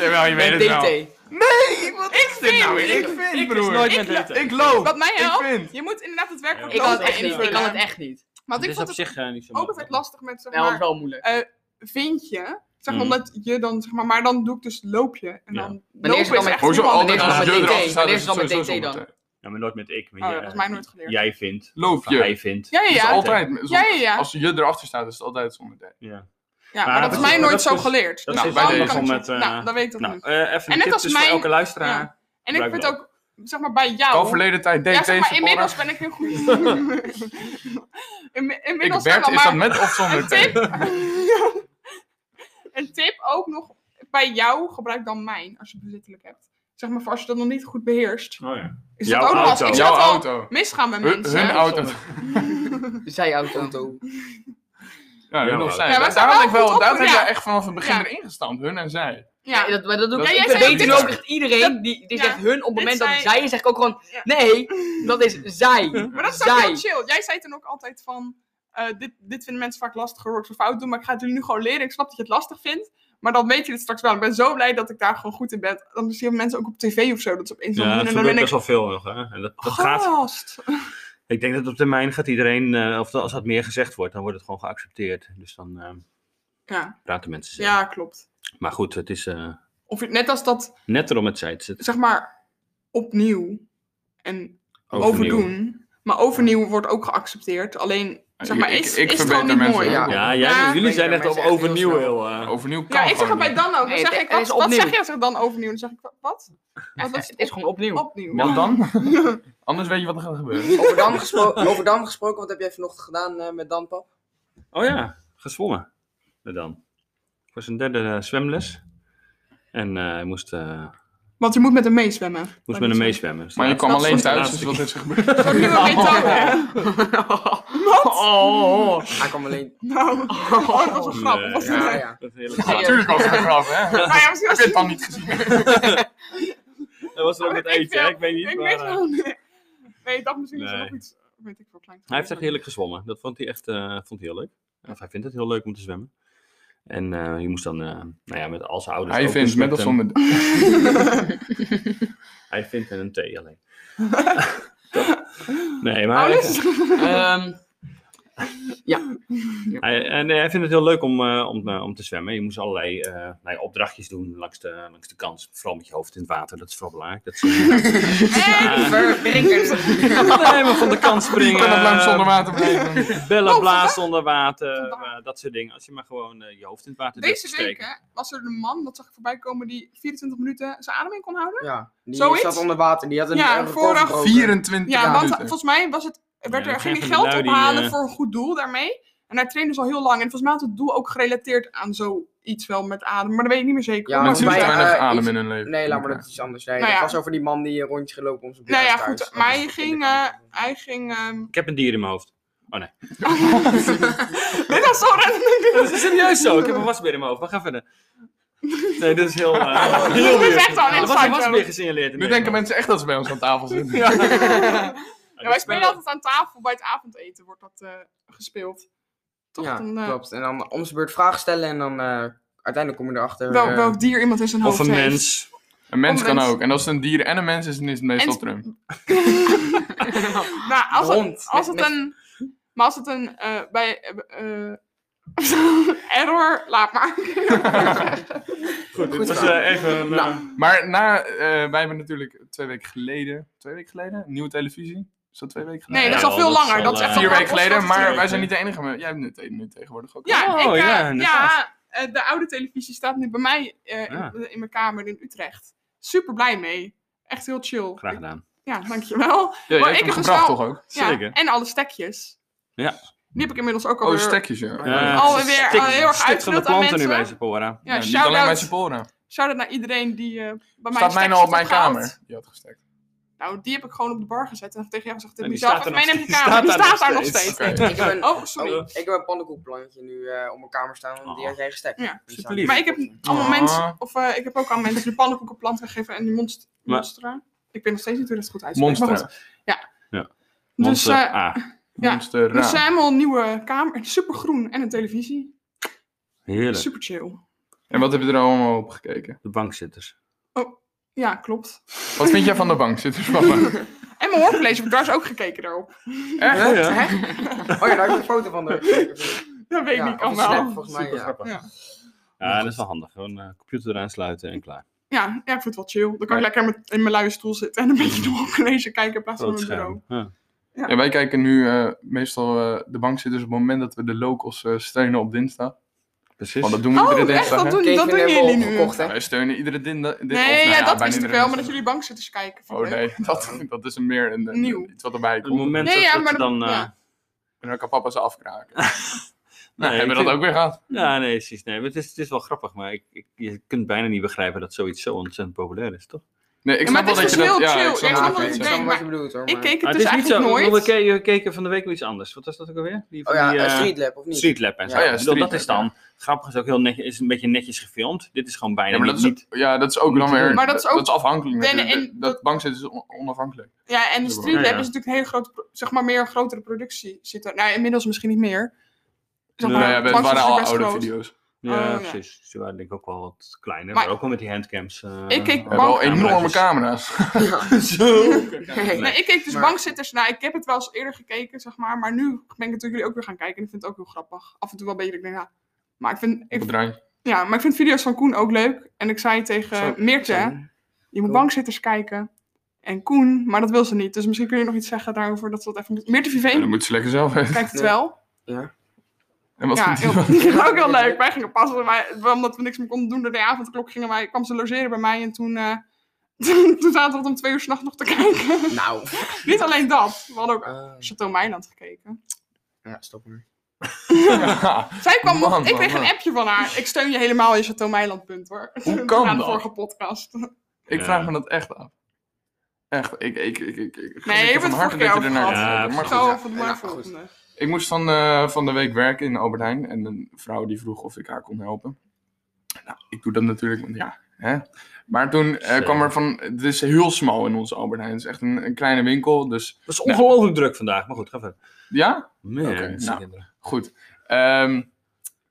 S3: Jawel, je weet
S1: met
S3: het wel.
S1: DT.
S3: Nee, wat is dit
S4: vind-
S3: nou? Ik
S1: ik-
S3: vind,
S2: is
S3: broer.
S2: nooit
S3: Ik,
S2: met DT.
S3: ik loop.
S4: Wat mij
S3: Ik
S4: helpt,
S3: vind.
S4: je moet inderdaad het werk
S2: Ja,
S4: voor
S1: Ik kan het
S2: Dat is
S1: echt niet. Ik kan het echt niet.
S4: Want
S2: Het
S4: ik
S2: is op
S4: vond het
S2: zich eh, niet zo
S4: ook altijd
S2: moeilijk.
S4: lastig met, zeg
S1: Wel, dat is
S4: maar,
S1: wel moeilijk.
S4: vind je. Zeg
S2: Mm.
S4: maar, omdat je dan, zeg maar, maar dan doe ik dus loop je. En
S2: Ja.
S4: dan
S1: Wanneer is
S4: lopen
S1: het
S4: is
S1: dan
S4: echt
S1: met-
S3: Hoezo
S4: helemaal
S1: Wanneer
S3: altijd
S4: niks.
S1: is het
S3: als je
S1: dan met
S3: erachter
S1: DT?
S3: staat,
S1: Wanneer
S3: is
S1: is het dan
S3: het
S1: met
S3: sowieso
S1: DT dan?
S3: zonder T.
S2: Ja, Nou, maar nooit met ik. Maar
S4: Oh,
S2: jij-
S4: dat is mij nooit geleerd.
S2: Jij vindt.
S3: Loop
S2: Of
S3: je.
S2: Hij vindt.
S4: Ja, ja,
S3: Is
S4: ja.
S3: altijd.
S4: Ja, ja, ja.
S3: Als je erachter staat, is het altijd zonder D.
S2: Ja.
S4: Ja,
S2: Maar
S4: maar dat
S2: dat
S4: is
S2: is-
S4: mij
S2: maar
S4: nooit
S2: dat
S4: zo
S2: is-
S4: geleerd.
S2: Dat
S4: Dus
S2: is
S4: dan
S3: bij
S4: kan
S3: deze.
S4: ik
S2: om
S4: het-
S2: het, eh,
S4: Nou, dan weet ik dat
S2: Nou,
S4: nu.
S2: eh, even
S4: En
S2: een
S4: net
S2: tip
S4: als
S2: dus
S4: mijn-
S2: voor elke luisteraar.
S4: Ja. En ik
S2: blijkbaar
S4: vind
S2: wel.
S4: ook, zeg maar, bij jou...
S3: Al verleden tijd
S4: Nou, Ja,
S3: DT
S4: zeg maar, inmiddels
S3: supporter.
S4: ben ik heel goed. Inmi-
S3: Ik
S4: inmiddels
S3: Bert,
S4: wel,
S3: is dat
S4: maar
S3: met of zonder
S4: een
S3: T?
S4: tip. een tip ook nog bij jou, gebruik dan mijn als je bezittelijk hebt. Zeg maar, voor als je dat nog niet goed beheerst.
S2: Oh ja.
S4: Is
S2: Jouw
S4: dat ook nog als
S2: auto.
S4: ik
S3: Jouw
S4: zat al
S3: auto.
S4: misgaan bij
S3: Hun
S4: mensen?
S3: hun auto.
S1: Zij auto.
S3: Ja, hun
S2: Ja,
S3: of zij.
S4: maar
S3: Daar
S4: ze waren
S3: had ik
S4: goed
S3: wel-
S4: op-
S3: daar heb
S4: ja.
S3: jij echt vanaf het begin
S4: Ja.
S3: erin gestampt. Hun en zij.
S1: Ja,
S4: ja,
S1: dat, maar dat doe ik.
S3: Ja,
S1: Ja,
S3: jij
S1: dat
S4: zei
S1: weet nu
S3: dit
S1: ook
S3: ook.
S1: echt iedereen. Die, die
S4: ja.
S1: zegt hun op het
S4: Dit
S1: moment dat
S4: zei-
S1: zij zegt ook gewoon.
S4: Ja.
S1: Nee, dat is zij.
S4: maar dat is ook
S1: zij.
S4: heel chill. Jij zei toen ook altijd van, eh, dit, dit vinden mensen vaak lastig hoor ik ze fout doen, maar ik ga het jullie nu gewoon leren. Ik snap dat je het lastig vindt, maar dan weet je het straks wel. Ik ben zo blij dat ik daar gewoon goed in ben. Dan zien mensen ook op tv of zo, dat ze opeens zo
S2: Ja,
S4: doen
S2: dat
S4: en dan ben
S2: gebeurt
S4: ik,
S2: best wel veel nog. Hè. En dat, dat gaat,
S4: gast.
S2: ik denk dat op termijn gaat iedereen, eh, of als dat meer gezegd wordt, dan wordt het gewoon geaccepteerd. Dus dan eh,
S4: Ja,
S2: praten mensen zelf.
S4: ja, klopt.
S2: Maar goed, het is eh,
S4: Of je- net als dat,
S2: net erom het zij te zitten.
S4: zeg maar, opnieuw en
S2: Overnieuw.
S4: overdoen. Maar overnieuw wordt ook geaccepteerd. Alleen, zeg maar,
S3: ik-
S4: is,
S3: ik
S4: is het gewoon
S3: verbeter
S4: niet
S3: mensen
S4: mooi.
S3: ook.
S4: Ja,
S3: Ja.
S2: Ja, jij,
S4: Ja.
S2: jullie zijn
S1: Nee,
S2: echt
S1: maar
S2: op
S1: mensen echt
S2: overnieuw
S1: heel
S2: heel... eh,
S3: Overnieuw kan
S4: ik zeg het
S3: gewoon
S4: bij
S3: niet.
S4: dan ook. Dan
S1: Nee,
S4: zeg
S1: het-
S4: ik,
S1: het
S4: wat,
S1: is
S4: wat zeg
S1: opnieuw.
S4: je als ik dan overnieuw? Dan zeg ik, wa- wat?
S1: Ja,
S4: Wat is
S1: het is gewoon opnieuw.
S4: opnieuw?
S3: Want dan? Anders weet je wat er gaat gebeuren.
S5: Over Dam, gespro- over Dam gesproken, wat heb jij vanochtend gedaan eh, met Dan, pap?
S2: Oh ja, gezwommen. En dan. Het was een derde eh, zwemles. En eh, hij moest, eh,
S4: Want je moet met hem meezwemmen.
S2: moest met hem meezwemmen. Dus
S3: Maar je
S2: dat-
S3: kwam
S4: Dat
S3: alleen
S4: is
S2: de
S3: thuis,
S2: laatste
S3: dus wat
S2: keer.
S3: is er gebeurd?
S4: Dat is nu een methode.
S1: Oh.
S5: Hij kwam alleen...
S4: Nou, oh, dat was een grap.
S2: Nee.
S4: Was nou? niet
S5: Ja,
S4: echt.
S5: ja.
S2: Dat, hele-
S1: Ja.
S3: Natuurlijk was het een grap, hè?
S4: Nou ja,
S3: Heb
S4: misschien was
S3: je het
S4: het
S3: dan niet gezien?
S2: dat was er ook het
S4: Ik
S2: eentje, hè?
S4: wil-
S2: ik weet niet.
S4: Ik
S2: maar,
S4: weet
S2: eh,
S4: wel niet. Nee, dat misschien is er
S2: Nee.
S4: nog iets. Weet ik veel klein.
S2: hij heeft echt heerlijk gezwommen. Dat vond hij echt eh, vond hij heel leuk. Of hij vindt het heel leuk om te zwemmen. En eh, je moest dan, eh, nou ja, met al zijn ouders.
S3: Hij
S2: ook
S3: vindt
S2: dus
S3: met of
S2: hem-
S3: zonder...
S2: Hij vindt en een thee alleen. nee, maar hij,
S4: Alles?
S1: Ehm,
S2: Hij, en hij vindt het heel leuk om, eh, om, eh, om te zwemmen. Je moest allerlei eh, nou ja, opdrachtjes doen langs de, langs de kant. Vooral met je hoofd in het water, dat is vooral belangrijk. Dat is- nee, maar van de kant
S3: Ik
S2: springen.
S3: kan nog lang zonder water blijven.
S2: Bellen blazen onder water,
S4: Oh, Vandaag.
S2: eh, dat soort dingen. Als je maar gewoon eh, je hoofd in het water durft te
S4: Deze week
S2: steken.
S4: hè, was er een man, dat zag ik voorbij komen, die 24 minuten zijn adem in kon houden.
S5: Ja, die
S4: Zoiets?
S5: zat onder water. Die had een
S4: Ja,
S5: een record
S4: vooraf-
S5: gebroken.
S3: 24
S4: Ja, want eh,
S3: minuten.
S4: volgens mij was het, werd
S2: Ja,
S4: er,
S2: dat
S4: ging hij
S2: zijn
S4: geld
S2: van die lui die,
S4: ophalen
S2: eh,
S4: voor een goed doel daarmee. En hij trainde dus al heel lang. En volgens mij had het doel ook gerelateerd aan zoiets wel met adem. Maar dat weet ik niet meer zeker.
S5: Ja,
S4: hoor.
S3: Maar
S4: maar
S3: ze
S5: volgens
S4: toen
S5: mij-
S4: zei-
S3: weinig
S5: eh,
S3: adem
S5: iets-
S3: in hun leven.
S5: Nee, laat maar, dat is iets anders. Nee,
S4: Nou
S5: dat
S4: ja.
S5: was over die man die een rondje gelopen om zijn
S4: nou ja,
S5: bruid
S4: goed.
S5: thuis.
S4: maar
S5: Dat
S4: hij
S5: is-
S4: ging... eh, hij ging ehm,
S2: Ik heb een dier in mijn hoofd.
S4: Dit was zo random.
S2: Dat is serieus zo, ik heb een wasbeer in mijn hoofd. Maar ga verder. Nee, dit is heel... eh, heel
S4: Oh, Dit is
S2: weird.
S4: echt wel een
S2: Er was een
S4: inside
S2: wasbeer
S4: joke.
S2: gesignaleerd. in
S3: Nu
S2: Nederland.
S3: denken mensen echt dat ze bij ons aan tafel zitten.
S4: Ja,
S2: dus
S4: wij spelen altijd aan tafel. Bij het avondeten wordt dat eh, gespeeld. Toch?
S5: Ja,
S4: dan, eh,
S5: klopt. En dan om zijn beurt vragen stellen en dan eh, uiteindelijk kom je erachter.
S4: wel,
S5: eh,
S4: welk dier iemand in zijn
S2: Of
S4: hoofd
S2: een
S4: heeft.
S2: mens.
S3: Een mens
S4: Om
S3: kan
S4: mensen-
S3: ook. En als het een dier en een mens is, dan is het meestal
S4: En-
S3: Trump.
S4: Nou, als
S5: De
S4: het,
S5: hond.
S4: Nou,
S5: Met-
S4: als het
S5: met-
S4: een... Maar als het een... eh, bij, eh, eh, Error, laat maar.
S2: Goed, dit
S5: Goed
S2: was
S5: gedaan.
S2: eh, even een...
S5: Nou.
S2: eh,
S3: Maar na, eh, wij hebben natuurlijk twee weken geleden, twee weken geleden, nieuwe televisie. Is dat twee weken geleden?
S4: Nee, dat is al
S2: Ja,
S4: veel
S2: dat is al,
S4: langer. Dat is echt
S2: eh,
S4: al
S3: Vier
S4: wel
S3: weken
S4: pas
S3: geleden,
S4: wat
S3: maar
S4: terug.
S3: wij zijn niet de enige. Maar jij hebt nu, te- nu tegenwoordig ook.
S4: Ja,
S2: Oh,
S4: ik, eh,
S2: ja,
S4: ja,
S2: inderdaad.
S4: eh, de oude televisie staat nu bij mij eh,
S2: Ja.
S4: in, in mijn kamer in Utrecht. Super blij mee. Echt heel chill.
S2: Graag gedaan.
S4: Ja, dankjewel.
S3: Ja, jij
S4: Maar
S3: hebt
S4: ik
S3: hem
S4: heb dus
S3: gebracht
S4: wel-
S3: toch ook?
S4: Ja,
S2: Zeker.
S4: en alle stekjes.
S2: Ja.
S4: Die heb ik inmiddels ook
S3: Oh,
S4: alweer.
S3: stekjes, ja.
S2: Ja,
S4: Alweer,
S2: het is een
S4: eh,
S2: stik-
S4: heel erg
S2: stik van de
S4: uitgedeeld aan
S2: planten nu
S4: mensen.
S2: bij Sephora.
S4: Ja,
S3: Nou, niet alleen bij
S4: shout-out
S3: Sephora.
S4: shout-out naar iedereen die eh, bij mij
S3: Staat mij
S4: stekjes
S3: nou op
S4: had
S3: mijn
S4: opgehaald.
S3: kamer. Die had gestekt.
S4: Nou, die heb ik gewoon op de bar gezet en tegen jou gezegd,
S2: En die
S4: ik moet zelf
S2: staat
S4: even
S2: er
S4: mee
S2: nog
S4: naar je
S2: steeds. Eh,
S4: kamer. Die
S2: Staat daar
S4: staat daar nog
S2: nog
S4: steeds.
S3: Oké.
S5: Ik heb een,
S4: Oh, sorry.
S5: oh, ik heb een pannenkoekplantje nu eh, op mijn kamer staan, want die
S2: Oh.
S5: had jij gestekt.
S4: Ja,
S5: Die
S2: superlief.
S4: Maar ik heb allemaal
S3: Ah.
S4: mensen, of eh, ik heb ook aan mensen de pannenkoekenplant gegeven en die monst-
S2: Maar-
S4: monstera. Ik weet nog steeds niet hoe dat goed uitspreekt. maar
S3: Monster.
S4: goed. Ja.
S2: Ja.
S4: Dus,
S2: Monster Ah,
S4: eh
S2: A.
S4: ja.
S3: Monster.
S4: dus ze hebben al een nieuwe kamer, supergroen en een televisie.
S2: Heerlijk.
S4: Super chill.
S3: En wat heb je er allemaal op gekeken?
S2: De bankzitters.
S4: Ja, klopt.
S3: Wat vind jij van de bank? Zit er van me?
S4: En mijn hoorcollege heb ik trouwens ook gekeken daarop.
S3: Echt?
S2: Ja, ja.
S5: Oh ja, daar heb ik een foto van.
S4: Dat weet ik
S5: Ja,
S4: niet,
S5: of
S4: kan
S5: een
S4: wel.
S5: snap, volgens mij.
S2: Super
S5: ja.
S2: grappig.
S4: Ja.
S2: Ja, dat is wel handig. Gewoon eh, computer eraan sluiten en klaar.
S4: Ja, ja, ik vind het wel chill. Dan kan ik lekker met, in mijn luie stoel zitten en een beetje door een college kijken in plaats van
S2: Groot
S4: mijn bureau.
S2: scherm. Ja.
S3: Ja, wij kijken nu eh, meestal eh, de bank zit dus op het moment dat we de locals eh, steunen op dinsdag.
S2: Precies.
S3: Want dat doen we
S4: Oh,
S3: iedere
S4: echt?
S3: dinsdag.
S4: Dat
S3: hè?
S4: doen,
S5: Kevin
S4: dat doen
S5: hebben we
S4: jullie nu?
S5: opgekocht, hè?
S3: Wij steunen iedere dinsdag.
S4: Nee,
S3: nou
S4: ja, dat wist ik wel, maar dat jullie bankzitters kijken. vond ik
S3: Oh
S4: leuk.
S3: nee, dat, dat is een meer een, een-
S4: Nieuw.
S3: iets wat erbij
S2: Het
S3: komt.
S2: moment
S4: Nee,
S2: dat,
S4: ja,
S2: dat
S4: maar
S2: je
S4: dat-
S2: dan... eh,
S4: ja.
S3: En dan kan papa ze afkraken. Nou,
S2: nee,
S3: hebben we
S2: ik
S3: dat ook weer gehad?
S2: Ja, nee, precies. Nee, maar het, is, het is wel grappig, maar ik, ik, je kunt bijna niet begrijpen dat zoiets zo ontzettend populair is, toch?
S3: Nee, ik
S4: Ja, maar
S3: snap wel
S4: het
S3: dat
S4: is
S3: je
S4: dus
S3: dat...
S4: heel
S3: Ja,
S4: chill.
S3: ik snap
S4: Ja,
S3: wel
S4: ik
S3: wat je
S4: snap
S5: ik
S3: zegt.
S5: snap
S4: wat je denkt,
S5: wat je
S4: maar
S5: bedoelt hoor.
S4: Ik
S5: maar-
S4: keek
S3: Ah,
S2: Maar
S4: het dus
S2: is niet
S4: eigenlijk
S2: Ik bedoel,
S4: nooit.
S2: we ke- we keken van de week weer iets anders. Wat was dat ook alweer?
S5: Oh
S2: Die van
S5: ja,
S2: die,
S5: eh,
S2: eh,
S5: Streetlab of niet?
S2: Streetlab en zo.
S3: Oh Ja, ja,
S2: Ik bedoel, dat
S3: Streetlab,
S2: is dan grappig, is ook heel netjes, is een beetje netjes gefilmd. Dit is gewoon bijna
S3: Ja, maar dat
S2: niet.
S3: is, ja, dat is ook dan weer...
S4: Maar dat is ook-
S3: afhankelijk.
S4: En-
S3: natuurlijk.
S4: en-
S3: dat bankzitten is on- onafhankelijk.
S4: Ja, en de
S3: Ja,
S4: Street Lab
S2: ja.
S4: is natuurlijk een hele grote, pro- zeg maar, meer grotere productie. Zit er. Nou, inmiddels misschien niet meer. Zeg
S2: Ja,
S3: Nou
S4: maar,
S3: ja,
S4: het
S3: het waren al oude
S4: groot.
S3: video's.
S2: Ja,
S4: Oh, ja.
S2: precies. Ze waren denk ik ook wel wat kleiner,
S4: Maar-
S2: maar, ook wel met die handcams. eh,
S4: Ik keek
S3: We hebben al
S4: Bank-
S3: enorme camera's.
S2: Zo.
S5: Nee.
S4: Nee, ik keek dus
S5: Maar-
S4: bankzitters. Nou, ik heb het wel eens eerder gekeken, zeg maar. Maar nu ben ik natuurlijk jullie ook weer gaan kijken. En ik vind het ook heel grappig. Af en toe wel beter. Ik denk, ja. Maar ik vind,
S3: Op
S4: ik,
S3: het randje.
S4: ja, maar ik vind video's van Koen ook leuk. En ik zei tegen Meertje, je moet
S5: Koen.
S4: bankzitters kijken. En Koen, maar dat wil ze niet. Dus misschien kun je nog iets zeggen daarover dat ze dat even moet. Meertje
S3: En dan
S4: Viveen
S3: moeten ze lekker zelf weten.
S4: kijkt het
S5: Nee.
S4: wel.
S5: Ja.
S3: En wat
S4: Ja,
S3: vindt
S4: heel,
S3: hij van-
S4: die ging ook heel leuk. Wij gingen passen, wij, omdat we niks meer konden doen door de avondklok, gingen wij, kwam ze logeren bij mij. En toen, eh, toen zaten we tot om twee uur s'nachts nog te kijken.
S5: Nou.
S4: Niet alleen dat, we hadden ook
S5: eh,
S4: Chateau Meiland gekeken.
S5: ja, stop maar.
S3: Ja.
S4: Zij kwam,
S3: Man,
S4: nog- ik
S3: man,
S4: kreeg
S3: man.
S4: een appje van haar. Ik steun je helemaal in Chateau Meiland, punt hoor.
S3: Hoe kan
S4: Na de
S3: dat?
S4: vorige podcast.
S3: Ik
S2: Ja.
S3: vraag me dat echt af. Echt, ik... ik, ik, ik, ik
S4: Nee, je hebt het
S3: van harte
S4: vorige
S3: dat je
S4: keer
S3: ernaar
S4: over
S2: gehad.
S3: gaat kijken. Maar goed,
S4: Zo,
S5: ja.
S4: van de
S5: Ja,
S4: morgen
S5: goed.
S4: volgende.
S3: Ik moest van, eh, van de week werken in Albert Heijn en een vrouw die vroeg of ik haar kon helpen. Nou, ik doe dat natuurlijk, want ja. Hè? Maar toen eh,
S2: Zo.
S3: kwam er van, het is heel smal in onze Albert Heijn. Het is echt een, een kleine winkel, dus
S2: Dat is ongelooflijk druk vandaag, maar goed, ga verder.
S3: ja,
S2: Man,
S3: Oké,
S2: dat is
S3: nou.
S2: kinderen.
S3: goed. Ehm,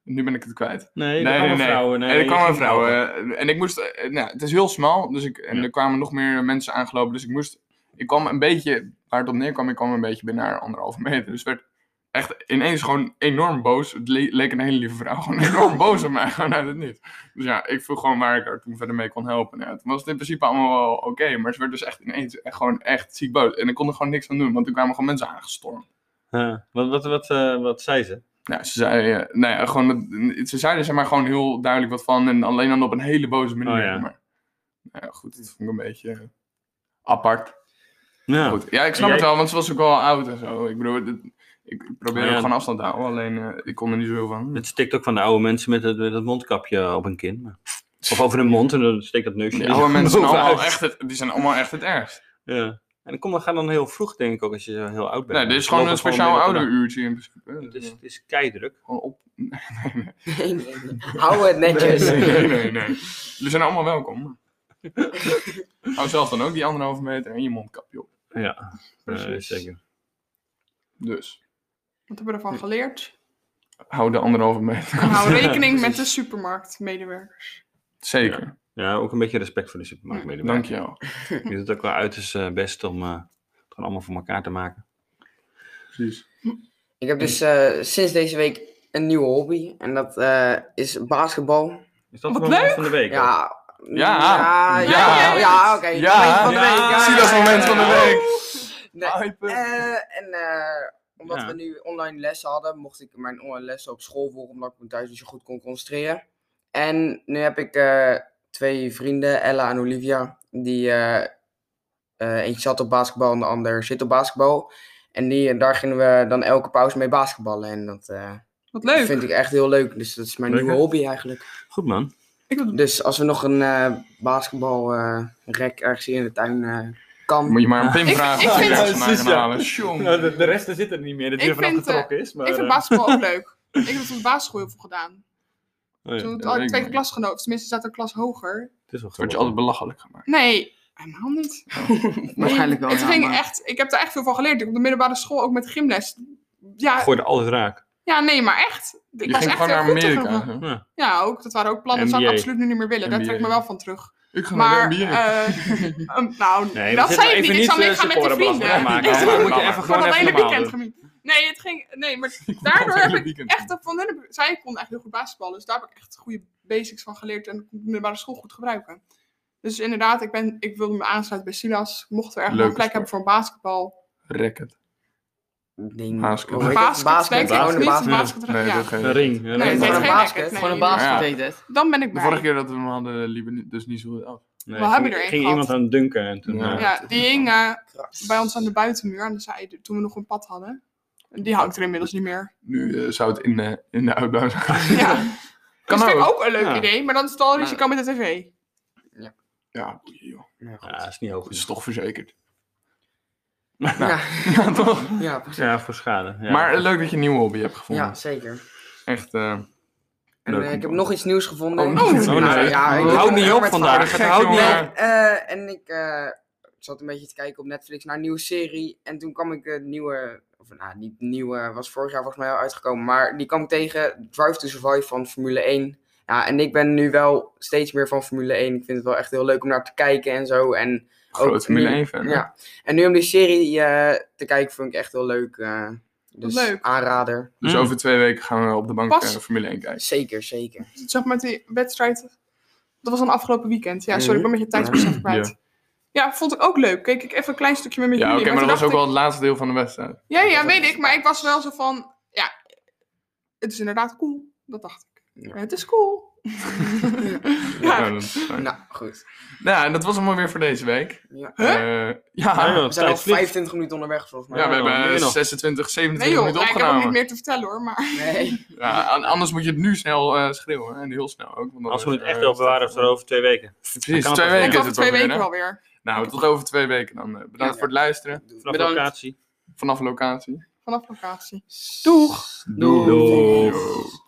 S3: nu ben ik het kwijt.
S2: Nee, er kwamen vrouwen. Nee,
S3: en er kwamen
S2: je ging
S3: vrouwen.
S2: helpen.
S3: eh, en ik moest, eh, nou, het is heel smal, dus ik, en
S2: Ja.
S3: er kwamen nog meer mensen aangelopen. Dus ik moest, ik kwam een beetje, waar het op neerkwam, ik kwam een beetje binnen haar anderhalve meter. Dus werd echt ineens gewoon enorm boos. Het le- leek een hele lieve vrouw, gewoon enorm boos op mij, gewoon uit het niet. Dus ja, ik vroeg gewoon waar ik haar toen verder mee kon helpen. Ja, toen was het in principe allemaal wel oké, maar ze werd dus echt ineens echt, gewoon echt ziek boos. En ik kon er gewoon niks aan doen, want toen kwamen gewoon mensen aangestormd.
S2: Ja. Wat, wat, wat, eh, wat zei ze?
S3: Nou, ze zei, eh, nou ja, gewoon, dat- ze zeiden zeg maar gewoon heel duidelijk wat van en alleen dan op een hele boze manier.
S2: Oh ja.
S3: Maar, nou ja, goed, dat vond ik een beetje eh, apart.
S2: Ja.
S3: Goed, ja, ik snap
S2: Oh. En
S3: het
S2: jij-
S3: wel, want ze was ook wel oud en zo. Ik bedoel, dit- ik probeer
S2: Maar
S3: ook
S2: ja.
S3: gewoon afstand te houden, alleen eh, ik kon er niet zoveel van.
S2: Het stikt ook van de oude mensen met het, met het mondkapje op hun kin. maar- Of over hun mond en dan steekt dat neusje.
S3: Die
S2: er
S3: oude mensen zijn
S2: bovenuit.
S3: allemaal echt het, die zijn allemaal echt het ergst.
S2: Ja. En kom, dan ga dan heel vroeg, denk ik ook, als je zo heel oud bent.
S3: Nee, dit is
S2: Ze
S3: gewoon
S2: lopen
S3: een speciaal
S2: midden op
S3: ouderuurtje in principe.
S2: de dag. Het is,
S3: Dus,
S2: het is keidruk. Eh,
S3: gewoon op.
S5: Nee, nee, nee. Hou het netjes.
S3: nee, nee, nee. Jullie zijn allemaal welkom. Hou zelf dan ook die anderhalve meter en je mondkapje op.
S2: Ja,
S4: Precies.
S2: zeker.
S3: Dus.
S4: Wat hebben we ervan geleerd?
S3: hou de anderhalve meter.
S4: En hou rekening met de supermarktmedewerker.
S3: Zeker,
S2: Ja, ook een beetje respect voor de supermarkt.
S3: dank je wel.
S2: Je doet het ook wel uiterst eh, best om eh, het gewoon allemaal voor elkaar te maken.
S3: Precies.
S5: Ik heb dus eh, sinds deze week een nieuwe hobby. En dat eh, is basketbal.
S2: Is dat
S4: Wat
S2: gewoon
S4: leuk!
S2: van de week? hoor?
S5: Ja.
S3: Ja.
S5: Ja.
S3: Ja.
S5: Ja, ja, oké.
S3: Ja.
S5: Moment van de
S2: Ja.
S5: week. Ja,
S3: Zie dat is
S5: ja,
S3: het moment
S5: ja,
S3: van de
S5: ja.
S3: week.
S5: Nee,
S3: Hype.
S5: eh, en eh, omdat
S2: Ja.
S5: we nu online lessen hadden, mocht ik mijn online lessen op school volgen, omdat ik me thuis niet zo goed kon concentreren. En nu heb ik eh, twee vrienden, Ella en Olivia, die eh, eh, eentje zat op basketbal en de ander zit op basketbal. En die, eh, daar gingen we dan elke pauze mee basketballen. En dat eh,
S4: Wat leuk.
S5: vind ik echt heel leuk. Dus dat is mijn
S2: Leuk,
S5: nieuwe
S2: hè?
S5: hobby eigenlijk.
S2: Goed man.
S4: Ik wil-
S5: Dus als we nog een eh basketbalrek ergens hier in de tuin eh kan.
S3: Moet je maar een pin
S4: Ik-
S3: vragen.
S4: ik
S3: of je
S4: vind-
S3: ergens
S2: Ja,
S3: vandaan
S2: precies, ja.
S3: halen. Tjong.
S2: de, rest zit er niet meer, dat
S4: Ik
S2: je vanaf
S4: vind, eh,
S2: getrokken is. Maar,
S4: ik vind
S2: eh,
S4: basketbal ook leuk. Ik heb het op de basisschool heel veel gedaan.
S2: oh ja,
S4: Toen had
S3: dat weet
S4: ik
S3: ik
S4: twee
S3: nog.
S4: klasgenoten, tenminste zat een klas hoger.
S2: het is wel
S3: Word je
S2: goed.
S3: altijd belachelijk gemaakt.
S4: Nee, helemaal niet.
S1: Waarschijnlijk wel.
S4: het
S1: ja,
S4: ging
S1: maar-
S4: echt, ik heb daar echt veel van geleerd. Ik Op de middelbare school ook met gymles. Ja,
S2: Gooi er alles raak.
S4: ja nee, maar echt. Ik
S3: Je
S4: was
S3: ging
S4: echt
S3: gewoon naar
S4: heel goed tegen
S3: Amerika.
S4: hem.
S5: Hm.
S3: hè?
S2: Ja.
S4: Ja, ook. Dat waren ook plannen. Dat zou ik
S2: NBA.
S4: absoluut nu niet meer willen. Daar
S3: NBA.
S4: trek ik me wel van terug.
S3: Ik ga naar
S4: Maar,
S3: de NBA.
S4: eh, um, nou,
S2: Nee,
S4: dat
S2: we zitten
S4: zei ik
S2: even
S4: niet. Ik
S2: niet,
S4: zou
S2: eh,
S4: meegaan met die
S2: sporenbelast
S4: vrienden.
S2: maken,
S4: Ik
S3: maar
S4: zou-
S3: we
S4: ik
S3: moeten
S4: had
S3: even
S2: gewoon
S4: dat
S2: even
S4: hele
S2: normaal
S4: weekend
S2: doen.
S4: gemeen. Nee, het ging... Nee, maar
S3: het
S4: daardoor
S3: hele
S4: heb ik
S3: weekend
S4: echt... Van hun, zij kon echt heel goed basketballen. Dus daar heb ik echt goede basics van geleerd. En kon ik de middelbare school goed gebruiken. Dus inderdaad, ik, ben, ik wilde me aansluiten bij Silas. Mochten we ergens
S3: Leuke
S4: een plek hebben voor basketbal.
S3: Racket.
S5: Ding.
S3: Basket.
S5: Hoe heet dat?
S4: Basket, denk ik.
S5: Gewoon een
S4: niet
S5: basket.
S4: basket,
S3: Nee,
S4: ja.
S3: dat geeft
S2: Een ring. Een
S4: Nee,
S2: ring.
S4: het
S5: Maar
S4: heet
S5: een
S4: geen
S5: basket,
S4: racket. nee.
S1: Gewoon een
S3: baas- Ja.
S1: basket heet het.
S4: Dan ben ik
S3: De
S4: bij.
S3: vorige keer dat we hem hadden, liepen niet- dus niet zo goed af.
S2: Nee,
S4: We
S2: ging-
S4: hebben er één
S2: ging
S4: gehad.
S2: iemand aan dunken en toen...
S3: Ja.
S2: eh,
S4: Ja, die hing eh, bij ons aan de buitenmuur. Aan de zijde, toen we nog een pad hadden. En Die hangt er inmiddels niet meer.
S3: Nu eh, zou het in de, in de outdoor zijn.
S4: Ja.
S3: Kan
S4: dat vind ik
S3: ook.
S4: ook een leuk
S2: Ja.
S4: idee, maar dan is het al een risico met de tv.
S3: Ja, boeien, joh.
S5: Ja, goed.
S2: Ja, is niet hoog
S3: Het
S2: genoeg.
S3: is toch verzekerd.
S5: Ja.
S3: Nou, Ja, toch?
S5: Ja, precies.
S2: Ja, voor schade. Ja.
S3: Maar eh, leuk dat je een nieuwe hobby hebt gevonden.
S5: Ja, zeker.
S3: Echt, eh
S5: En eh,
S3: Leuk om
S5: ik
S3: te
S5: heb
S3: horen.
S5: nog iets nieuws gevonden.
S3: Oh, oh, nee.
S5: ja, ik
S3: Houd
S5: ben
S2: nou, niet
S5: echt
S2: op
S5: met
S2: vandaag.
S5: verhalen.
S3: gek,
S2: houdt niet
S3: jongen.
S5: Eh, en ik eh, zat een beetje te kijken op Netflix naar een nieuwe serie. En toen kwam ik het nieuwe, of nou, niet nieuwe, was vorig jaar volgens mij al uitgekomen. Maar die kwam ik tegen, Drive to Survive van Formule 1. Ja, en ik ben nu wel steeds meer van Formule 1. Ik vind het wel echt heel leuk om naar te kijken en zo. En
S3: groot
S5: Ook
S3: Formule
S5: nu-
S3: 1 fan. hè?
S5: Ja. En nu om die serie eh, te kijken vond ik echt heel leuk. eh. dus
S4: leuk.
S5: aanrader.
S3: Dus
S2: Mm.
S3: over twee weken gaan we op de bank
S4: Pas-
S3: eh, Formule 1 kijken.
S5: Zeker, zeker.
S4: zeg maar Dus met die wedstrijd. Dat was dan afgelopen weekend. Ja, sorry, ik ben met je
S3: Mhm. Ja.
S4: tijdsbesef kwijt. Ja. vond ik ook leuk. Keek ik even een klein stukje met, met
S3: Ja, oké,
S4: jullie.
S3: maar dat was ook wel
S4: toen dacht
S3: het laatste deel van de wedstrijd.
S4: ik- Ja, ja, weet ik. Maar ik was wel zo van... Ja, het is inderdaad cool. Dat dacht ik.
S5: Ja.
S4: Het is cool. ja.
S3: dat is fijn.
S5: Nou, goed.
S3: Nou, en dat was hem maar weer voor deze week.
S5: Ja.
S4: Huh?
S3: Eh, ja,
S2: Ja, joh,
S5: We zijn al
S2: Nou, tijd vliegt.
S5: 25 minuten onderweg volgens mij.
S3: Ja, we
S2: Nou,
S3: hebben
S2: meer
S3: eh,
S2: nog.
S3: 26, 27
S4: Nee joh,
S3: minuten
S4: ja, ik heb ook niet
S3: opgenomen.
S4: meer te vertellen hoor. Maar
S5: Nee.
S3: Ja, an- anders moet je het nu snel eh, schreeuwen. hè, En heel snel ook. want dan
S2: Als we het
S3: is,
S2: echt
S3: eh,
S2: wel bewaren, is het over twee weken. Dan
S3: Precies,
S2: kan het
S3: twee
S2: wel.
S3: weken
S4: ik
S3: is
S4: over
S3: het
S4: twee
S3: wel weer,
S4: weken
S3: hè?
S4: alweer.
S3: Nou, tot over twee weken dan. eh, Bedankt voor het luisteren.
S2: Vanaf
S1: Bedankt.
S2: locatie.
S3: Vanaf locatie.
S4: Vanaf locatie.
S1: Doeg!
S2: Doei.
S3: Yo.